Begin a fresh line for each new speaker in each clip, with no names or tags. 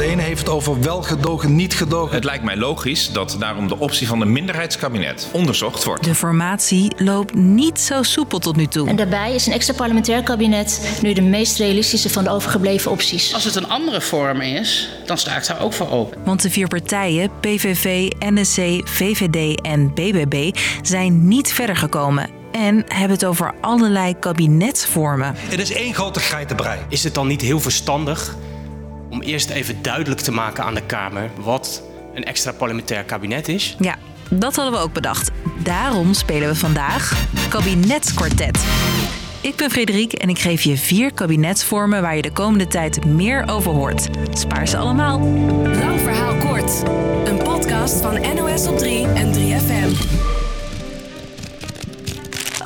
ene heeft over wel gedogen, niet gedogen.
Het lijkt mij logisch dat daarom de optie van een minderheidskabinet onderzocht wordt.
De formatie loopt niet zo soepel tot nu toe.
En daarbij is een extra parlementair kabinet nu de meest realistische van de overgebleven opties.
Als het een andere vorm is, dan sta ik daar ook voor open.
Want de vier partijen, PVV, NSC, VVD en BBB, zijn niet verder gekomen. En hebben het over allerlei kabinetsvormen.
Het is één grote geitenbrei.
Is het dan niet heel verstandig om eerst even duidelijk te maken aan de Kamer wat een extra parlementair kabinet is?
Ja, dat hadden we ook bedacht. Daarom spelen we vandaag Kabinetskwartet. Ik ben Frederik en ik geef je vier kabinetsvormen waar je de komende tijd meer over hoort. Spaar ze allemaal.
Lang verhaal kort. Een podcast van NOS op 3 en 3FM.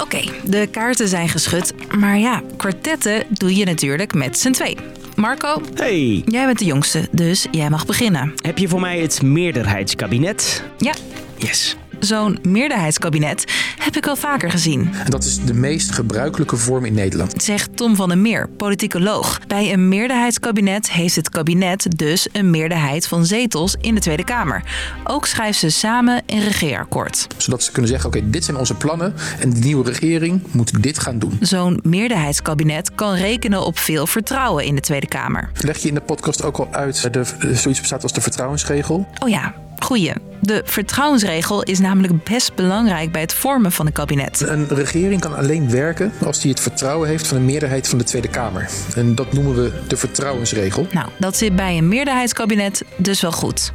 Oké, de kaarten zijn geschud. Maar ja, kwartetten doe je natuurlijk met z'n twee. Marco,
Hey,
jij bent de jongste, dus jij mag beginnen.
heb je voor mij het meerderheidskabinet?
Ja,
Yes.
zo'n meerderheidskabinet heb ik al vaker gezien,
En dat is de meest gebruikelijke vorm in Nederland.
zegt Tom van den Meer, politicoloog. Bij een meerderheidskabinet heeft het kabinet dus een meerderheid van zetels in de Tweede Kamer. Ook schrijft ze samen een regeerakkoord.
Zodat ze kunnen zeggen, oké, dit zijn onze plannen en de nieuwe regering moet dit gaan doen.
Zo'n meerderheidskabinet kan rekenen op veel vertrouwen in de Tweede Kamer.
Leg je in de podcast ook al uit dat er zoiets bestaat als de vertrouwensregel.
Oh ja, goeie. De vertrouwensregel is namelijk best belangrijk bij het vormen van een kabinet.
Een regering kan alleen werken als die het vertrouwen heeft van een meerderheid van de Tweede Kamer. En dat noemen we de vertrouwensregel.
Nou, dat zit bij een meerderheidskabinet dus wel goed.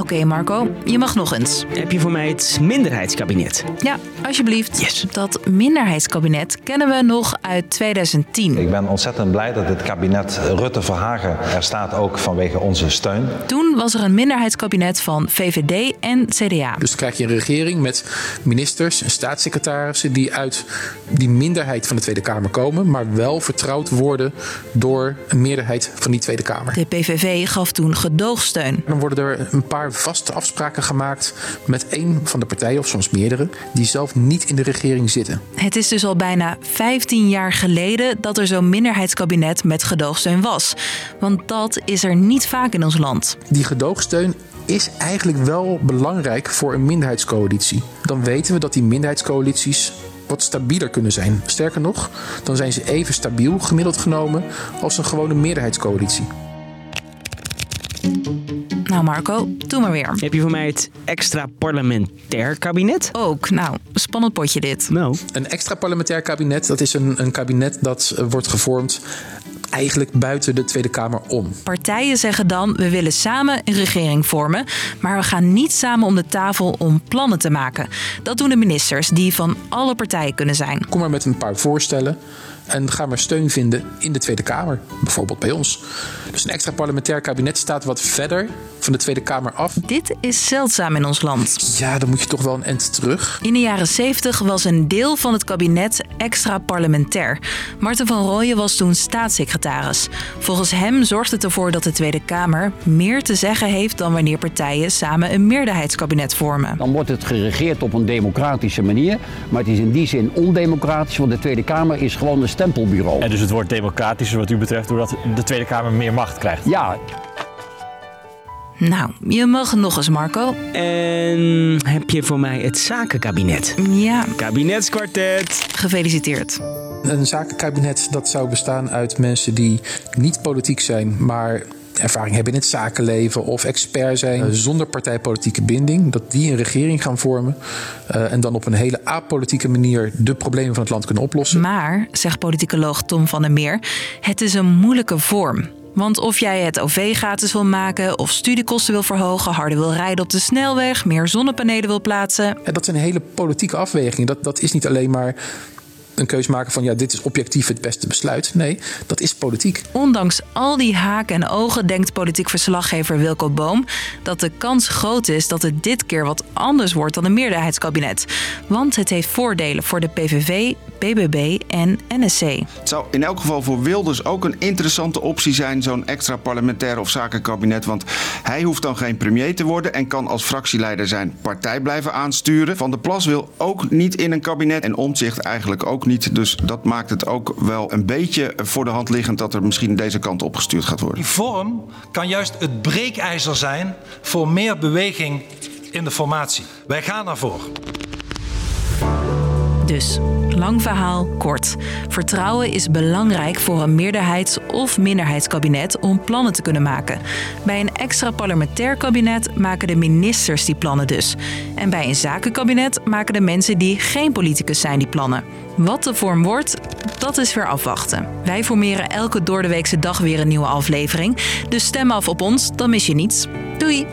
Oké Marco, je mag nog eens.
Heb je voor mij het minderheidskabinet?
Ja, alsjeblieft.
Yes.
Dat minderheidskabinet kennen we nog uit 2010.
Ik ben ontzettend blij dat het kabinet Rutte-Verhagen er staat ook vanwege onze steun.
Toen was er een minderheidskabinet van VVD en CDA.
Dus dan krijg je een regering met ministers en staatssecretarissen die uit die minderheid van de Tweede Kamer komen, maar wel vertrouwd worden door een meerderheid van die Tweede Kamer.
De PVV gaf toen gedoogsteun.
Dan worden er een paar vaste afspraken gemaakt met één van de partijen, of soms meerdere, die zelf niet in de regering zitten.
Het is dus al bijna 15 jaar geleden dat er zo'n minderheidskabinet met gedoogsteun was. Want dat is er niet vaak in ons land.
Die gedoogsteun is eigenlijk wel belangrijk voor een minderheidscoalitie. Dan weten we dat die minderheidscoalities wat stabieler kunnen zijn. Sterker nog, dan zijn ze even stabiel gemiddeld genomen als een gewone meerderheidscoalitie.
Nou Marco, doe maar weer.
Heb je voor mij het extra parlementair kabinet?
Ook, nou, spannend potje dit.
Nou,
Een extra parlementair kabinet, dat is een, een kabinet dat eh, wordt gevormd eigenlijk buiten de Tweede Kamer om.
Partijen zeggen dan, we willen samen een regering vormen, maar we gaan niet samen om de tafel om plannen te maken. Dat doen de ministers, die van alle partijen kunnen zijn.
Kom maar met een paar voorstellen en ga maar steun vinden in de Tweede Kamer, bijvoorbeeld bij ons. Dus een extra parlementair kabinet staat wat verder van de Tweede Kamer af.
Dit is zeldzaam in ons land.
Ja, dan moet je toch wel een end terug.
In de jaren 70 was een deel van het kabinet extra parlementair. Marten van Rooyen was toen staatssecretaris. Volgens hem zorgt het ervoor dat de Tweede Kamer meer te zeggen heeft dan wanneer partijen samen een meerderheidskabinet vormen.
Dan wordt het geregeerd op een democratische manier. Maar het is in die zin ondemocratisch, want de Tweede Kamer is gewoon een stempelbureau.
En dus het wordt democratischer wat u betreft doordat de Tweede Kamer meer macht krijgt.
Ja,
Nou, je mag nog eens, Marco.
en heb je voor mij het zakenkabinet?
Ja,
Kabinetskwartet.
gefeliciteerd.
Een zakenkabinet dat zou bestaan uit mensen die niet politiek zijn, maar ervaring hebben in het zakenleven of expert zijn eh, zonder partijpolitieke binding, dat die een regering gaan vormen eh, en dan op een hele apolitieke manier de problemen van het land kunnen oplossen.
Maar, zegt politicoloog Tom van der Meer, het is een moeilijke vorm. Want of jij het OV gratis wil maken, of studiekosten wil verhogen, harder wil rijden op de snelweg, meer zonnepanelen wil plaatsen.
En dat zijn hele politieke afwegingen. Dat, dat is niet alleen maar een keus maken van ja, dit is objectief het beste besluit. Nee, dat is politiek.
Ondanks al die haken en ogen denkt politiek verslaggever Wilco Boom dat de kans groot is dat het dit keer wat anders wordt dan een meerderheidskabinet. Want het heeft voordelen voor de PVV, BBB en NSC.
Het zou in elk geval voor Wilders ook een interessante optie zijn, zo'n extra parlementaire of zakenkabinet. Want hij hoeft dan geen premier te worden en kan als fractieleider zijn partij blijven aansturen. Van der Plas wil ook niet in een kabinet en Omtzigt eigenlijk ook niet. Dus dat maakt het ook wel een beetje voor de hand liggend dat er misschien deze kant opgestuurd gaat worden.
Die vorm kan juist het breekijzer zijn voor meer beweging in de formatie. Wij gaan daarvoor.
Dus, lang verhaal kort. Vertrouwen is belangrijk voor een meerderheids- of minderheidskabinet om plannen te kunnen maken. Bij een extra parlementair kabinet maken de ministers die plannen dus. En bij een zakenkabinet maken de mensen die geen politicus zijn die plannen. Wat de vorm wordt, dat is weer afwachten. Wij formeren elke doordeweekse dag weer een nieuwe aflevering. Dus stem af op ons, dan mis je niets. Doei!